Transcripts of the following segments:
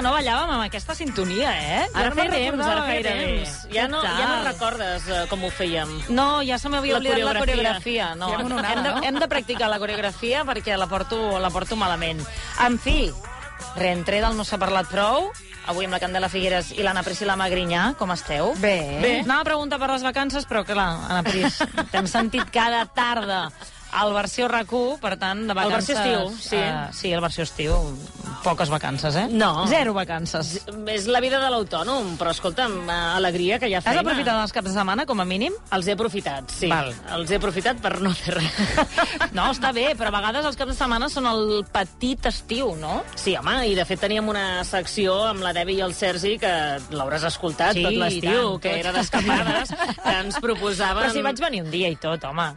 no ballàvem amb aquesta sintonia, eh? Ara me'n fa temps, recordava ara fa gaire temps. bé. eh? Ja Què no, ja tal? no recordes eh, com ho fèiem. No, ja se m'havia La oblidat la coreografia. coreografia. No. Fem una onada, hem, de, no? hem de practicar la coreografia perquè la porto, la porto malament. En fi, reentré del No s'ha parlat prou. Avui amb la Candela Figueres i l'Anna Pris i la Magrinyà. Com esteu? Bé. Bé. Anava a preguntar per les vacances, però clar, Anna Pris, t'hem sentit cada tarda al versió rac per tant, de Al vacances... versió estiu, sí. eh, sí, el versió estiu, poques vacances, eh? No. Zero vacances. És la vida de l'autònom, però escolta'm, eh, alegria que hi ha Has feina. aprofitat els caps de setmana, com a mínim? Els he aprofitat, sí. Val. Els he aprofitat per no fer res. No, està bé, però a vegades els caps de setmana són el petit estiu, no? Sí, home, i de fet teníem una secció amb la Devi i el Sergi, que l'hauràs escoltat Sí, tot i l'estiu, tant, que tot. era d'escapades, que ens proposaven... Però si vaig venir un dia i tot, home.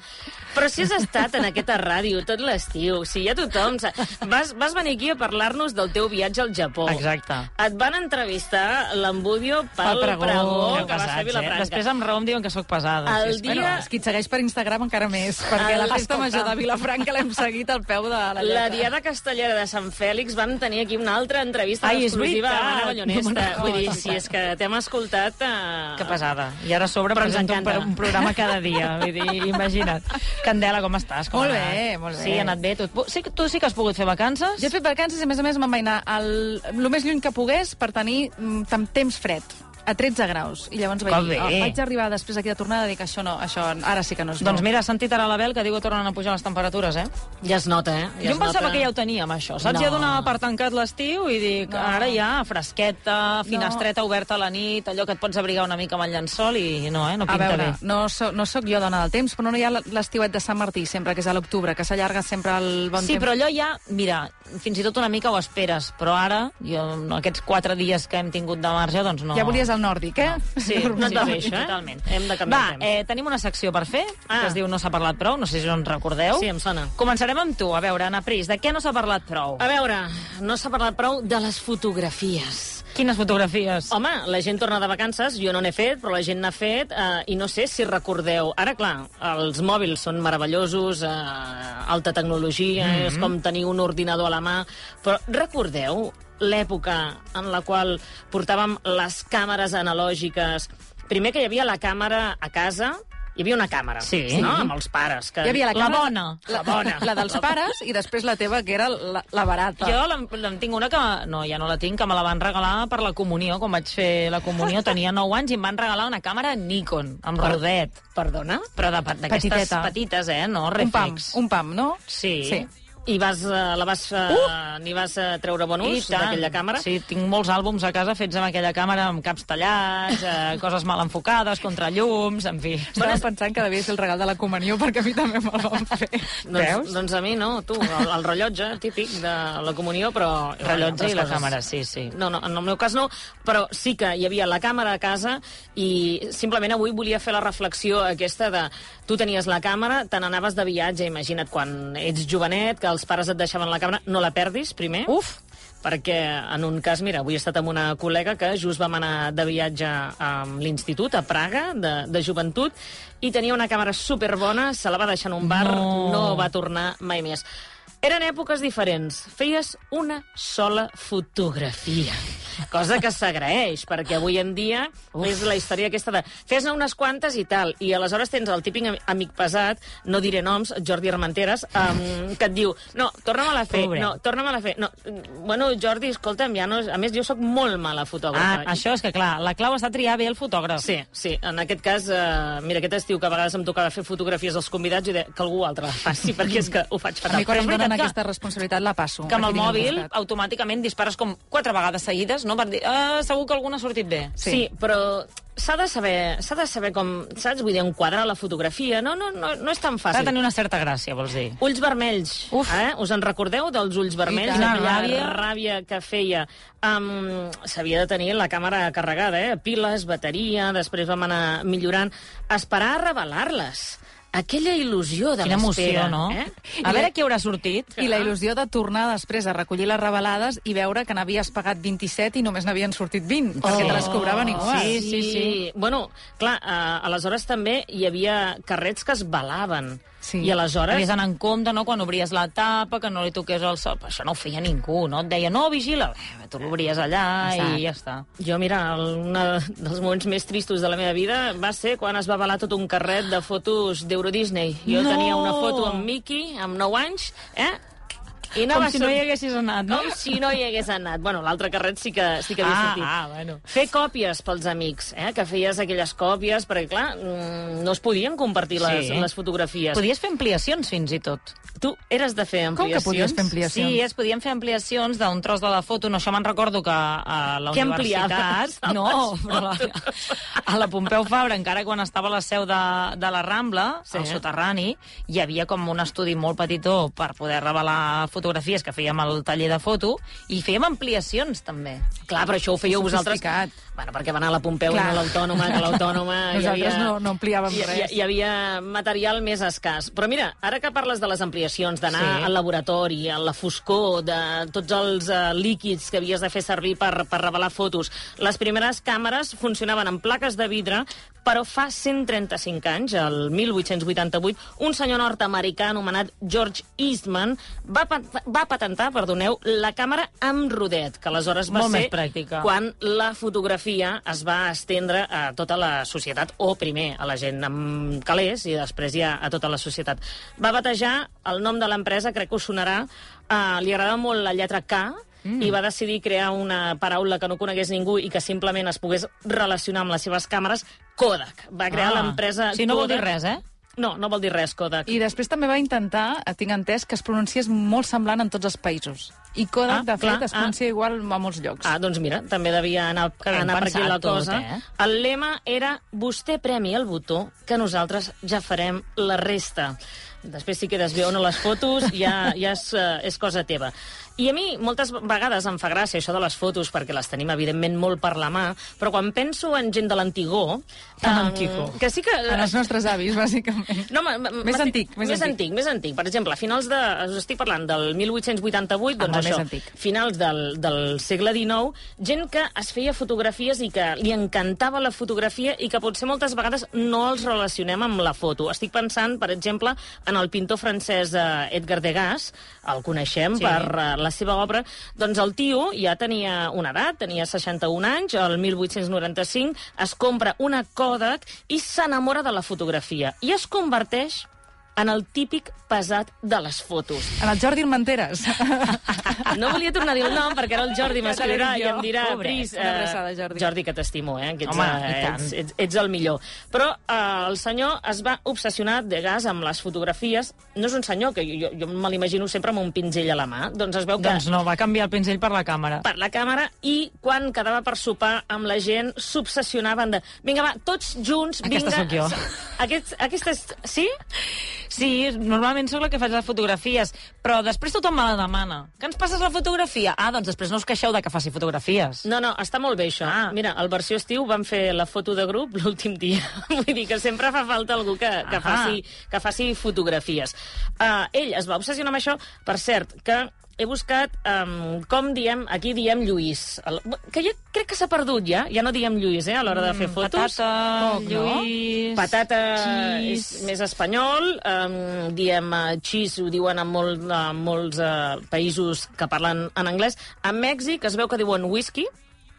Però si has estat en aquesta ràdio tot l'estiu, si ja tothom... sa- Vas, vas venir aquí a parlar-nos del teu viatge al Japó. Exacte. Et van entrevistar l'Ambudio pel, Oh. Pel pregó, que va eh? ser a Vilafranca. eh? Després amb raó em diuen que sóc pesada. El sí, espera. dia- Bueno, és qui et segueix per Instagram encara més, perquè la festa Escolta. major de Vilafranca l'hem seguit al peu de la lletra. La Diada Castellera de Sant Fèlix van tenir aquí una altra entrevista Ai, és exclusiva a veritat. Anna Ballonesta. No me'n Vull dir, recordo. si és que t'hem escoltat... eh, Que pesada. I ara a sobre Però ens presento un, encanta. pro- un programa cada dia. Vull dir, imagina't. Candela, com estàs? Com Molt ha bé, anat? molt bé. Sí, ha anat bé. Tu, sí, que- tu sí que has pogut fer vacances? Jo he fet vacances i, a més a més, me'n vaig anar el, el més lluny que pogués per tenir mm, tam- temps fred a 13 graus. I llavors vaig Que dir, bé. oh, vaig arribar després aquí de tornada i dic, això no, això ara sí que no és Doncs bo. mira, has sentit ara l'Abel que diu que tornen a pujar les temperatures, eh? Ja es nota, eh? Jo es em pensava nota. que ja ho teníem, això. Saps? No. Ja donava per tancat l'estiu i dic, No. ara ja, fresqueta, finestreta oberta a la nit, allò que et pots abrigar una mica amb el llençol i no, eh? No A pinta veure, bé. no, so, no sóc jo dona del temps, però no hi ha l'estiuet de Sant Martí, sempre, que és a l'octubre, que s'allarga sempre el bon Sí, temps. però allò ja, mira, fins i tot una mica ho esperes, però ara, jo, en aquests quatre dies que hem tingut de marge, doncs no... Ja volies el nòrdic, eh? Sí, no et va bé, sí, això, eh? Totalment. Hem de canviar Va, el temps. eh, tenim una secció per fer, ah. que Ah. es diu No s'ha parlat prou, no sé si en recordeu. Sí, em sona. Començarem amb tu, a veure, Anna Pris, de què no s'ha parlat prou? A veure, no s'ha parlat prou de les fotografies. Quines fotografies? Home, la gent torna de vacances, jo no n'he fet, però la gent n'ha fet, eh, i no sé si recordeu. Ara, clar, els mòbils són meravellosos, eh, alta tecnologia, mm -hmm. és com tenir un ordinador a la mà, però recordeu l'època en la qual portàvem les càmeres analògiques? Primer que hi havia la càmera a casa, hi havia una càmera, Sí. no? amb els pares. Que... Hi havia la, La càmera- bona. La La, bona. La dels pares i després la teva, que era la, la barata. Jo en, en tinc una que... No, ja no la tinc, que me la van regalar per la comunió. Quan vaig fer la comunió tenia 9 anys i em van regalar una càmera Nikon, amb rodet. Perdona? Però de- d'aquestes Petiteta. petites, eh? No, un pam, reflex. un pam, no? Sí. Sí. I vas, eh, la vas, eh, uh! n'hi vas eh, treure bon I ús, tant. d'aquella càmera? Sí, tinc molts àlbums a casa fets amb aquella càmera, amb caps tallats, eh, coses mal enfocades, contrallums, en fi. Estava pensant que devia ser el regal de la comunió perquè a mi també me'l van fer. Doncs, doncs a mi no, tu, el, el rellotge típic de la comunió, però... Rellotge i la altres coses. càmera, sí, sí. No, no, en el meu cas no, però sí que hi havia la càmera a casa i simplement avui volia fer la reflexió aquesta de tu tenies la càmera, te n'anaves de viatge, imagina't quan ets jovenet, que els pares et deixaven la càmera, no la perdis primer. Uf! Perquè, en un cas, mira, avui he estat amb una col·lega que just vam anar de viatge a l'institut, a Praga, de, de joventut, i tenia una càmera superbona, se la va deixar en un bar, No. no, no va tornar mai més. Eren èpoques diferents. Feies una sola fotografia. Cosa que s'agraeix, perquè avui en dia Uf. és la història aquesta de fes-ne unes quantes i tal, i aleshores tens el típic ami- amic pesat, no diré noms, Jordi Armenteres, um, que et diu no, torna-me-la a fer, Pobre. no, torna-me-la a fer. No, bueno, Jordi, escolta'm, ja no... és- A més, jo sóc molt mala Ah, fotògrafa. això és que, clar, la clau està triar bé el fotògraf. Sí, sí. En aquest cas, eh, mira, aquest estiu que a vegades em tocava fer fotografies als convidats, jo deia que algú altre la faci, perquè és que ho faig A fatal. mi quan Però és em donen veritat que- aquesta responsabilitat la passo. que amb el Aquí tinc mòbil al costat. automàticament dispares com quatre vegades seguides, no? Per dir, ah, segur que alguna ha sortit bé. Sí, Sí. sí però s'ha de saber, s'ha de saber com, saps? Vull dir, enquadrar la fotografia. No, no, no, no és tan Has de fàcil. tenir una certa gràcia, vols dir. Ulls vermells, Uf. eh? Us en recordeu dels ulls vermells? I tant. Aquella Ràbia. ràbia que feia. Um, S'havia de tenir la càmera carregada, eh? Piles, bateria, després vam anar millorant. Esperar a revelar-les. Aquella il·lusió de Quina emoció, l'espera, no? Eh? A veure què haurà sortit. I la il·lusió de tornar després a recollir les revelades i veure que n'havies pagat 27 i només n'havien sortit 20, perquè Oh. te les cobraven igual. Sí, sí, sí. Bueno, clar, eh, aleshores també hi havia carrets que es balaven. Sí. I aleshores... Havies d'anar en compte, no?, quan obries la tapa, que no li toqués el sol. Però això no ho feia ningú, no? Et deia, no, vigila. Eh, tu l'obries allà Exacte. i ja està. Jo, mira, el- un dels moments més tristos de la meva vida va ser quan es va avalar tot un carret de fotos d'Euro Disney. Jo No! tenia una foto amb Mickey, amb 9 anys, eh? I Com va si no sortir- hi haguessis anat, no? Com si no hi hagués anat. Bueno, l'altre carret sí que, sí que havia Ah, sortit. ah, bueno. Fer còpies pels amics, eh? que feies aquelles còpies, perquè, clar, mm, no es podien compartir les, Sí. les fotografies. Podies fer ampliacions, fins i tot. Tu eres de fer Com ampliacions? que podies fer ampliacions? Sí, es podien fer ampliacions d'un tros de la foto. No, això me'n recordo que a la Què universitat... ampliaves? No, però la, Les a la Pompeu Fabra, encara quan estava a la seu de, de la Rambla, Sí. sí. al soterrani, hi havia com un estudi molt petitó per poder revelar fotografies que fèiem al taller de foto i fèiem ampliacions, també. Clar, però això ho fèieu vosaltres... Sofisticat. Bueno, perquè va anar a la Pompeu Clar. i no a l'Autònoma, que a l'Autònoma... hi Nosaltres no- no ampliàvem hi, hi- res. Hi, havia material més escàs. Però mira, ara que parles de les ampliacions, d'anar Sí. sí. al laboratori, a la foscor, de tots els uh, líquids que havies de fer servir per, per revelar fotos, les primeres càmeres funcionaven amb plaques de vidre, però fa 135 anys, el 1888, un senyor nord-americà anomenat George Eastman va, pat- va patentar, perdoneu, la càmera amb rodet, que aleshores va Molt ser més pràctica. quan la fotografia es va estendre a tota la societat, o primer a la gent amb calés i després ja a tota la societat. Va batejar el nom de l'empresa, crec que us sonarà, uh, li agradava molt la lletra K, Mm. i va decidir crear una paraula que no conegués ningú i que simplement es pogués relacionar amb les seves càmeres, Kodak. Va crear Ah. l'empresa Sí, no vol Kodak. dir res, eh? No, no vol dir res, Kodak. I després també va intentar, eh, tinc entès, que es pronuncies molt semblant en tots els països. I Kodak, Ah, de fet, clar, es pronuncia igual a molts llocs. Ah, doncs mira, també devia anar, ben anar per aquí pensat la tot, cosa. eh? El lema era vostè premi el botó, que nosaltres ja farem la resta. Després si quedes bé o no les fotos, ja, ja és, eh, és cosa teva. I a mi moltes vegades em fa gràcia això de les fotos, perquè les tenim evidentment molt per la mà, però quan penso en gent de l'antigó... En Antigó. Que sí que... eh, En els nostres avis, bàsicament. No, ma- ma- Ah, Més m'estic- antic, més més antic. antic, més antic. Per exemple, a finals de... Us estic parlant del 1888, Ah, doncs molt això, més antic. finals del, del segle XIX, gent que es feia fotografies i que li encantava la fotografia i que potser moltes vegades no els relacionem amb la foto. Estic pensant, per exemple, en el pintor francès eh, Edgar Degas, el coneixem Sí. sí. per eh, la seva obra, doncs el tio ja tenia una edat, tenia 61 anys, el 1895, es compra una Kodak i s'enamora de la fotografia i es converteix en el típic pesat de les fotos. En el Jordi Armenteres. No volia tornar a dir el nom perquè ara el Jordi Ja m'escriurà t'he i dit jo. em dirà... Pobret, Pris, eh, una abraçada, Jordi." Jordi, que t'estimo, eh? Que ets, Home, eh, i tant. ets, ets, ets el millor. Però eh, el senyor es va obsessionar de gas amb les fotografies. No és un senyor que jo, jo, jo me l'imagino sempre amb un pinzell a la mà. Doncs es veu que Doncs no, va canviar el pinzell per la càmera. per la càmera i quan quedava per sopar amb la gent s'obsessionaven de... Vinga, va, tots junts, vinga... Aquesta sóc jo. Aquests, aquestes... Sí? Sí, normalment sóc la que faig les fotografies, però després tothom me la demana. Que ens passes la fotografia? Ah, doncs després no us queixeu de que faci fotografies. No, no, està molt bé, això. Ah. Ah. Mira, al versió estiu vam fer la foto de grup l'últim dia. Vull dir que sempre fa falta algú que, Ahà. que, faci, que faci fotografies. Uh, ell es va obsessionar amb això. Per cert, que he buscat um, com diem... Aquí diem Lluís. El, que jo crec que s'ha perdut ja. Ja no diem Lluís, eh, a l'hora de fer fotos. Mm, Patata, Poc, no? Lluís... Patata és Cheese. més espanyol, um, diem uh, cheese, ho diuen en, molt, en molts uh, països que parlen en anglès. A Mèxic es veu que diuen whisky,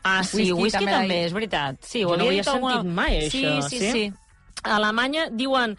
Ah, sí, Whisky whisky, també també, d'ahir. és veritat. Sí, ho Jo no havia ho havia dit alguna- sentit mai, això, Sí, sí, sí? sí. A Alemanya diuen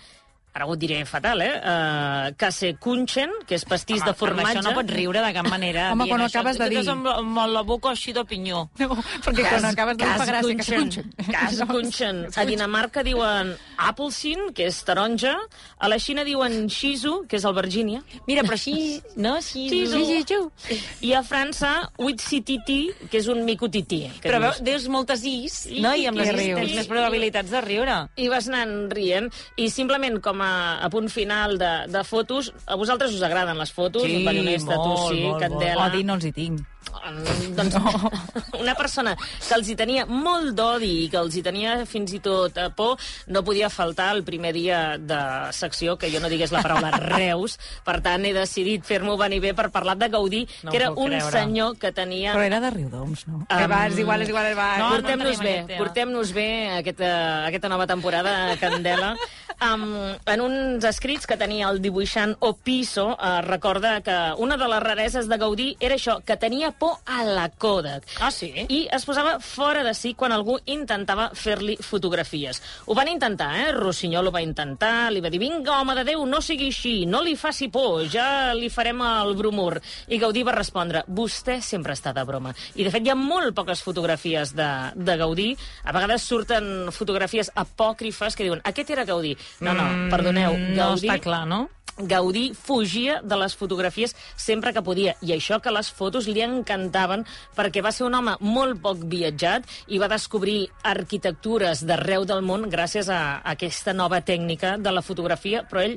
ara ho diré fatal, eh? Uh, Kassekunchen, que és pastís Home, de formatge. Amb això no pots riure de cap manera. Home, dient quan ho això. acabes de Tu dir. tens amb, amb la boca així de pinyó. No, perquè quan acabes de dir fa gràcia que Kassekunchen. Kassekunchen. A Dinamarca diuen Applesin, que és taronja. A la Xina diuen Shizu, que és albergínia. Mira, però així... No, així... Sí, no. sí, I a França, Huitzititi, que és un micotití. que Però dius. veus, dius moltes is, no? I amb I les is rius. tens més probabilitats de riure. i vas anant rient i simplement com a, a punt final de, de fotos, a vosaltres us agraden les fotos? Sí, Ballonesta, molt, tu sí, molt, Candela... Odi no els hi tinc. Mm, Doncs una persona que els hi tenia molt d'odi i que els hi tenia fins i tot eh, por, no podia faltar el primer dia de secció que jo no digués la paraula Reus. Per tant, he decidit fer-m'ho venir bé per parlar de Gaudí, No que era ho puc un creure. senyor que tenia... Però era de Riudoms, no? Em- Que va, és igual, és igual, és igual. No, portem-nos tenim bé, aquest tema. portem-nos bé aquesta, aquesta nova temporada a Candela. Uh, um, en uns escrits que tenia el dibuixant Opiso, uh, recorda que una de les rareses de Gaudí era això, que tenia por a la Kodak. Ah, sí? I es posava fora de si quan algú intentava fer-li fotografies. Ho van intentar, eh? Rossinyol ho va intentar, li va dir, vinga, home de Déu, no sigui així, no li faci por, ja li farem el bromur. I Gaudí va respondre, vostè sempre està de broma. I, de fet, hi ha molt poques fotografies de, de Gaudí. A vegades surten fotografies apòcrifes que diuen, aquest era Gaudí. No, no, perdoneu, Mm, No Gaudí... està clar, no? Gaudí fugia de les fotografies sempre que podia, i això que les fotos li encantaven, perquè va ser un home molt poc viatjat i va descobrir arquitectures d'arreu del món gràcies a aquesta nova tècnica de la fotografia, però ell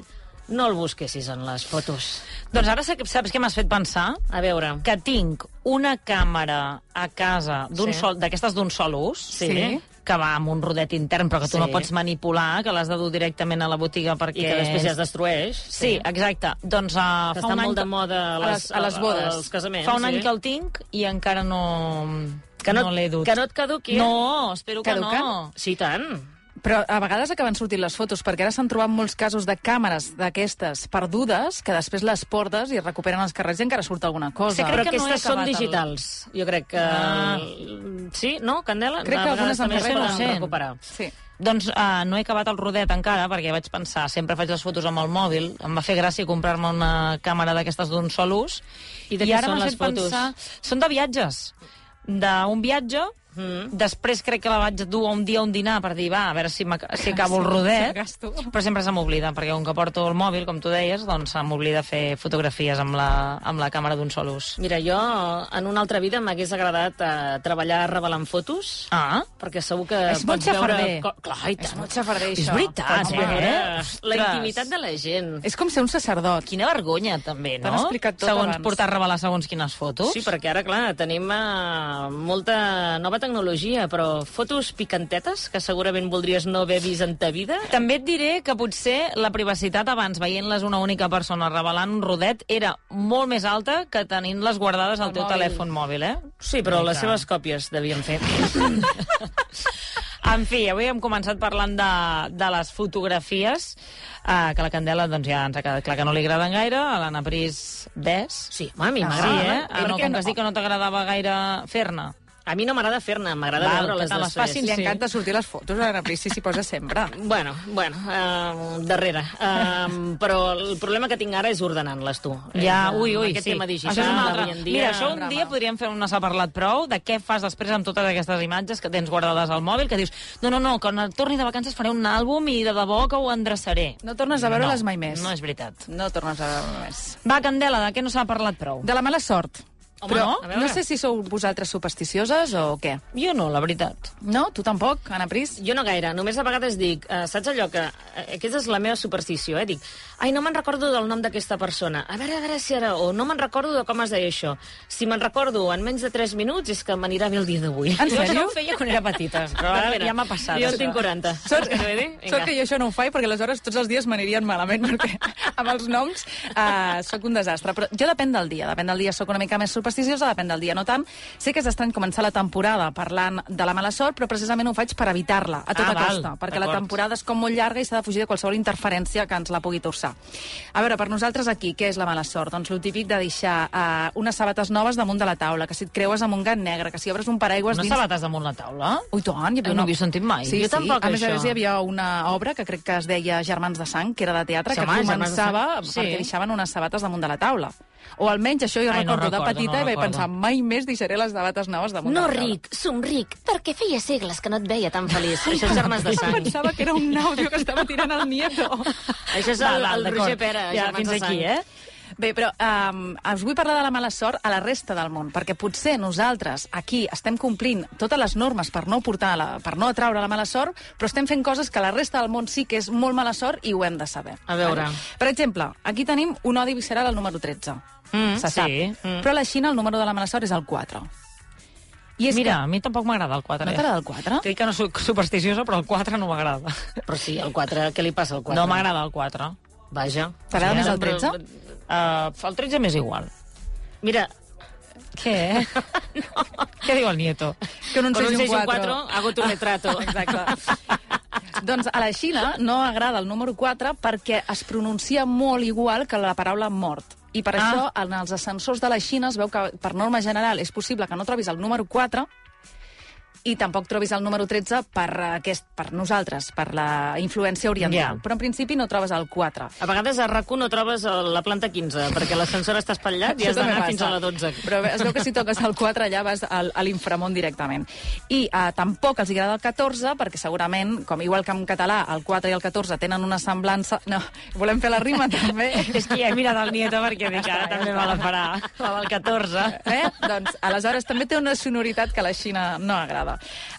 no el busquessis en les fotos. Doncs ara sa- saps què m'has fet pensar? A veure... Que tinc una càmera a casa d'un Sí. sol, d'aquestes d'un sol ús, Sí. que va amb un rodet intern, però que tu Sí. no pots manipular, que l'has de dur directament a la botiga perquè... I que després ja es destrueix. Sí, exacte. Doncs uh, fa Que està un any molt de que- moda a les, a les bodes. als casaments. Fa un any sí. que el tinc i encara no, que no, l'he dut. Que no et caduqui. eh? No, espero que Caduquen? no. Sí, tant. Però a vegades acaben sortint les fotos, perquè ara s'han trobat molts casos de càmeres d'aquestes perdudes que després les portes i es recuperen als carrers i encara surt alguna cosa. Sí, crec Però que no he aquestes són acabat el- digitals. Jo crec que... Ah. Sí, no, Candela? Crec A que vegades algunes també em es poden recorden. recuperar. Sí. Doncs uh, no he acabat el rodet encara, perquè vaig pensar, sempre faig les fotos amb el mòbil, em va fer gràcia comprar-me una càmera d'aquestes d'un sol ús, I de què ara són m'ha les fet fotos? Pensar... Són de viatges, d'un viatge, Mm. després crec que la vaig dur a un dia a un dinar per dir, va, a veure si, m'ac- si acabo el Sí, rodet, gasto. però sempre se m'oblida, perquè com que porto el mòbil, com tu deies, doncs se m'oblida fer fotografies amb la, amb la càmera d'un sol ús. Mira, jo en una altra vida m'hagués agradat eh, treballar revelant fotos, Ah, perquè segur que És molt pots veure... xafarder. co- Clar, i És tant. molt xafarder, És això. veritat, Pots eh? veure- Eh, La Ostres. intimitat de la gent. És com ser un sacerdot. quina vergonya, també, no? T'han explicat tot segons abans. portar a revelar segons quines fotos. Sí, perquè ara, clar, tenim eh, molta nova tecnologia, però fotos picantetes que segurament voldries no haver vist en ta vida, També et diré que potser la privacitat abans, veient-les una única persona revelant un rodet, era molt més alta que tenint-les guardades al teu mòbil. telèfon mòbil, eh? Sí, però les Mica. seves còpies devien fer. En fi, avui hem començat parlant de, de les fotografies, eh, que la Candela doncs, ja ens ha quedat clar que no li agraden gaire, a l'Anna Pris des. Sí, home, a mi Sí, m'agrada. eh? I Ah, no, per què com que has dit que no t'agradava gaire fer-ne. A mi no m'agrada fer-ne, m'agrada Val, veure-les que te les després. facin, Li Sí. encanta sortir les fotos, a la Prissi s'hi posa sempre. Bueno, bueno, eh, darrere. Eh, però el problema que tinc ara és ordenant-les tu. Ja, Eh, ui, ui, Aquest sí. tema digital això és un altre... d'avui en dia... Mira, això un drama. dia podríem fer un s'ha parlat prou de què fas després amb totes aquestes imatges que tens guardades al mòbil, que dius, no, no, no, quan torni de vacances faré un àlbum i de debò que ho endreçaré. No tornes a veure-les mai més. No és veritat. No tornes a veure més. Va, Candela, de què no s'ha parlat prou? De la mala sort. Home, Però no, a veure. no sé si sou vosaltres supersticioses o què. Jo no, la veritat. No? Tu tampoc, Anna Pris? Jo no gaire, només a vegades dic, eh, saps allò que... Eh, aquesta és la meva superstició, eh? Dic, ai, no me'n recordo del nom d'aquesta persona. A veure, a veure si ara... O no me'n recordo de com es deia això. Si me'n recordo en menys de 3 minuts és que m'anirà bé el dia d'avui. En Jo això sèrio? ho feia quan era petita, però ara ja m'ha passat. Jo això. en tinc 40. Sort, Saps què vull dir? Vinga. sort que jo això no ho faig, perquè aleshores tots els dies m'anirien malament, perquè amb els noms uh, sóc un desastre. Però jo depèn del dia, depèn del dia, sóc una mica més supersticiosa, depèn del dia, no tant. Sé que és estrany començar la temporada parlant de la mala sort, però precisament ho faig per evitar-la, a tota Ah, val, costa, perquè la d'acord. temporada és com molt llarga i s'ha de fugir de qualsevol interferència que ens la pugui torçar. A veure, per nosaltres aquí, què és la mala sort? Doncs lo típic de deixar uh, unes sabates noves damunt de la taula, que si et creues amb un gat negre, que si obres un paraigües Unes dins... sabates damunt la taula? Ui, tant, hi havia No una... ho havia sentit mai. Sí, Jo sí. tampoc, A més, a això. més, hi havia una obra que crec que es deia Germans de Sang, que era de teatre, Sí, que home, Germans de Sang. començava Sí. perquè deixaven unes sabates damunt de la taula. O almenys això jo Ai, no recordo de recordo, petita no i vaig recordo. pensar, mai més deixaré les sabates noves damunt No de la taula. ric, somric, perquè feia segles que no et veia tan feliç. Això és germans de Jo sang. pensava que era un àudio que estava tirant el nieto. Això és el, el Roger Pera, ja, germans fins de sang. aquí, eh? Bé, però um, us vull parlar de la mala sort a la resta del món, perquè potser nosaltres aquí estem complint totes les normes per no portar la, per no atraure la mala sort, però estem fent coses que a la resta del món sí que és molt mala sort i ho hem de saber. A veure. Per exemple, aquí tenim un odi visceral al número 13. Mm, Se sap. sí, mm. Però a la Xina el número de la mala sort és el 4. I és Mira, a mi tampoc m'agrada el que... 4. No t'agrada el 4? T'he dit que no soc supersticiosa, però el 4 no m'agrada. Però sí, el 4, què li passa al 4? No m'agrada el 4. Vaja. T'agrada Sí, més el però- 13? Uh, el 13 m'és igual. Mira, Què? no. Què diu el nieto? Que no ens con un hagi 6 i un 4 4. hago tu retrato. Exacte. Doncs a la Xina no agrada el número 4 perquè es pronuncia molt igual que la paraula mort. I per ah. això, en els ascensors de la Xina es veu que, per norma general, és possible que no trobis el número 4 i tampoc trobis el número 13 per, aquest, per nosaltres, per la influència oriental. Ja. Però en principi no trobes el 4. A vegades a rac no trobes el- la planta 15, perquè l'ascensor està espatllat i Això has d'anar també fins a passa. la 12. Però es veu que si toques el 4 allà vas al, a l'inframont directament. I eh, tampoc els agrada el 14 perquè segurament, com igual que en català, el 4 i el 14 tenen una semblança... No, volem fer la rima també. És que ja he mirat el Nieto perquè dic, ara també me la farà. La del 14. Eh? Doncs aleshores també té una sonoritat que a la Xina no agrada.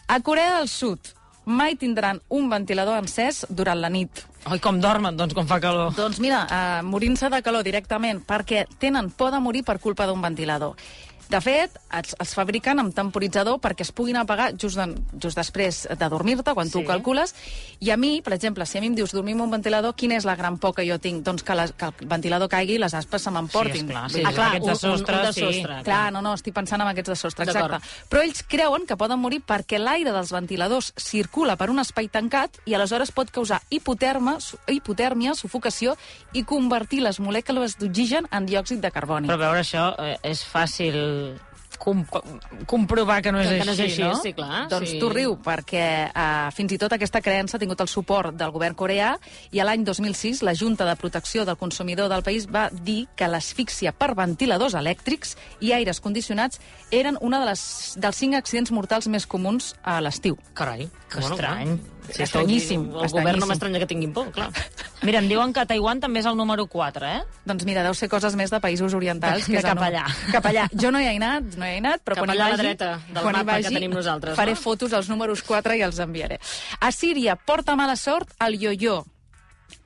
A Corea del Sud mai tindran un ventilador encès durant la nit. Ai, com dormen, doncs, quan fa calor. Doncs mira, eh, morint-se de calor directament, perquè tenen por de morir per culpa d'un ventilador. De fet, es, es fabriquen amb temporitzador perquè es puguin apagar just, en, just després de dormir-te, quan sí. tu Sí. ho calcules. I a mi, per exemple, si a mi em dius dormim un ventilador, quina és la gran por que jo tinc? Doncs que, la, que el ventilador caigui i les aspes se Sí, m'emportin. esclar, Vull sí, dir, ah, clar, aquests de sostre, un, un de sí. sostre, clar, no, no, estic pensant en aquests de sostre, exacte. D'acord. Però ells creuen que poden morir perquè l'aire dels ventiladors circula per un espai tancat i aleshores pot causar hipoterma, su- hipotèrmia, sufocació i convertir les molècules d'oxigen en diòxid de carboni. Però a veure, això eh, és fàcil comp comprovar que no és, Que no és així, així, no? sí, clar. Doncs ah, sí. tu riu, perquè eh, fins i tot aquesta creença ha tingut el suport del govern coreà i a l'any 2006 la Junta de Protecció del Consumidor del país va dir que l'asfíxia per ventiladors elèctrics i aires condicionats eren una de les, dels cinc accidents mortals més comuns a l'estiu. Carai, Que estrany. Sí, estranyíssim. Estranyíssim, El govern estranyíssim. no m'estranya que tinguin por, clar. Mira, em diuen que Taiwan també és el número 4, eh? Doncs mira, deu ser coses més de països orientals. De- que de és el cap allà. número- Cap allà. Jo no hi he anat, no hi he anat, però Cap quan hi allà a la vagi, dreta del quan hi mapa que vagi, tenim nosaltres, Faré no? fotos als números 4 i els enviaré. A Síria porta mala sort el yo-yo.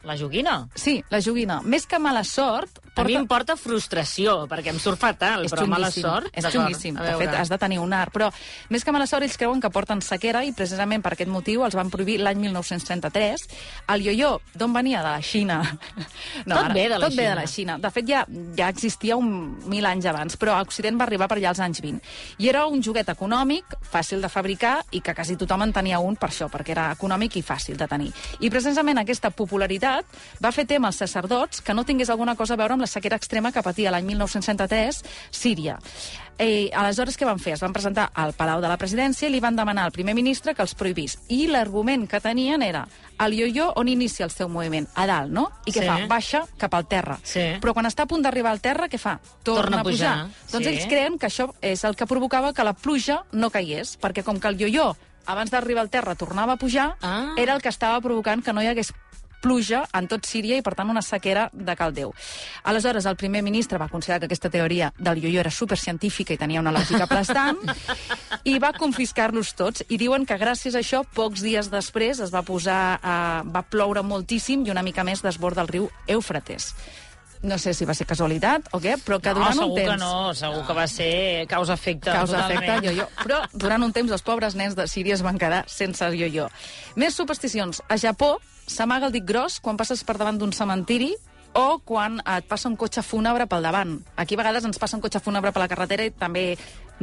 La joguina. Sí, la joguina. Més que mala sort, A mi porta... em porta frustració, perquè em surt fatal, però mala xunguíssim, sort... És D'acord, xunguíssim. a De veure. fet, has de tenir un art. Però, més que mala sort, ells creuen que porten sequera i precisament per aquest motiu els van prohibir l'any 1933. El ioió, d'on venia? De la Xina. No, Tot ve de la tot ve de la Xina. Xina. De fet, ja, ja existia un mil anys abans, però a Occident va arribar per allà als anys 20. I era un joguet econòmic, fàcil de fabricar, i que quasi tothom en tenia un per això, perquè era econòmic i fàcil de tenir. I precisament aquesta popularitat va fer tema als sacerdots que no tingués alguna cosa a veure amb la sequera extrema que patia l'any 1963 Síria. I aleshores què van fer? Es van presentar al Palau de la Presidència i li van demanar al primer ministre que els prohibís. I l'argument que tenien era el ioió on inicia el seu moviment? A dalt, no? I què Sí. fa? baixa cap al terra. Sí. Però quan està a punt d'arribar al terra, què fa? Torna a pujar. Doncs Sí. ells creuen que això és el que provocava que la pluja no caigués, perquè com que el ioió abans d'arribar al terra tornava a pujar, Ah. era el que estava provocant que no hi hagués pluja en tot Síria i, per tant, una sequera de cal Déu. Aleshores, el primer ministre va considerar que aquesta teoria del ioió era supercientífica i tenia una lògica aplastant i va confiscar-los tots i diuen que gràcies a això, pocs dies després es va posar, eh, va ploure moltíssim i una mica més desbord del riu Eufrates. No sé si va ser casualitat o què, però que no, durant segur un temps... que no, segur que va ser causa-efecte. Causa efecte, totalment. yo-yo. Però durant un temps els pobres nens de Síria es van quedar sense el yo-yo. Més supersticions. A Japó s'amaga el dit gros quan passes per davant d'un cementiri o quan et passa un cotxe fúnebre pel davant. Aquí a vegades ens passa un cotxe fúnebre per la carretera i també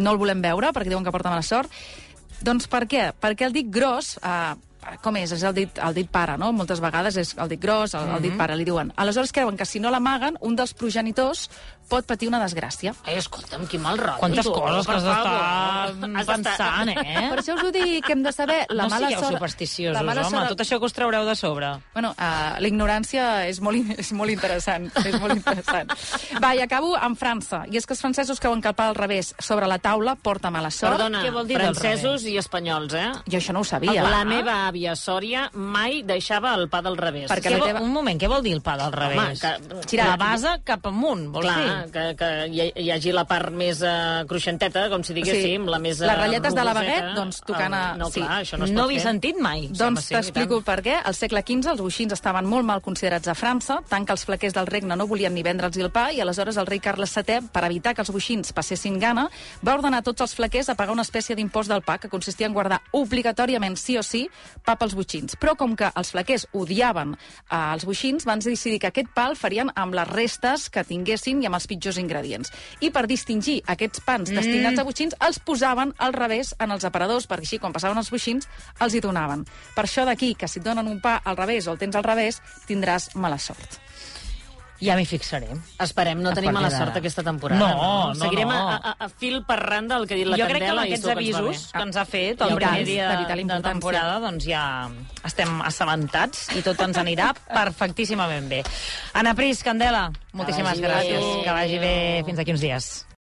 no el volem veure perquè diuen que porta mala sort. Doncs per què? Perquè el dit gros... Eh, com és? És el dit, el dit pare, no? Moltes vegades és el dit gros, el, el dit pare, li diuen. Aleshores creuen que si no l'amaguen, un dels progenitors pot patir una desgràcia. Ai, escolta'm, quin mal rotllo. Quantes tu, coses que per has d'estar favor. Has d'estar- pensant, eh? Per això us ho dic, que hem de saber la no mala sigueu sort... supersticiosos, la mala home. sort- Tot això que us traureu de sobre. Bueno, uh, la ignorància és molt, in- és molt interessant. és molt interessant. Va, i acabo amb França. I és que els francesos creuen que el pa al revés sobre la taula porta mala sort. Perdona, Què vol dir del francesos i espanyols, eh? Jo això no ho sabia. La meva àvia Sòria mai deixava el pa del revés. Perquè Què la vol- teva- Un moment, què vol dir el pa del revés? que- La base cap amunt, vols Clar, dir? que, que hi, ha- hi hagi la part més uh, cruixenteta, com si diguéssim, la més... eh, les ratlletes de la rugoseta, baguette, doncs, tocant a- eh, No, sí. clar, això no es no pot l'he fer. sentit mai. Doncs sembla, sí, i tant. t'explico per què. Al segle XV els boixins estaven molt mal considerats a França, tant que els flaquers del regne no volien ni vendre'ls el pa, i aleshores el rei Carles VII, per evitar que els boixins passessin gana, va ordenar a tots els flaquers a pagar una espècie d'impost del pa que consistia en guardar obligatòriament sí o sí pa pels boixins. Però com que els flaquers odiaven eh, els boixins, van decidir que aquest pa el farien amb les restes que tinguessin i amb els pitjors ingredients. I per distingir aquests pans destinats a botxins, els posaven al revés en els aparadors, perquè així, quan passaven els botxins, els hi donaven. Per això d'aquí, que si et donen un pa al revés o el tens al revés, tindràs mala sort. Ja m'hi fixaré. Esperem no A tenir partir mala d'ara. sort aquesta temporada. No, no, Seguirem no. A, a, a fil per randa el que ha dit la jo crec que amb Candela. i aquests segur que ens va avisos bé. que ens ha fet I el tant, primer dia de de, vital de importància. temporada, doncs ja estem assabentats i tot ens anirà perfectíssimament bé. Ana Pris, Candela, moltíssimes vagi bé. gràcies. Que vagi bé. Fins aquí uns dies.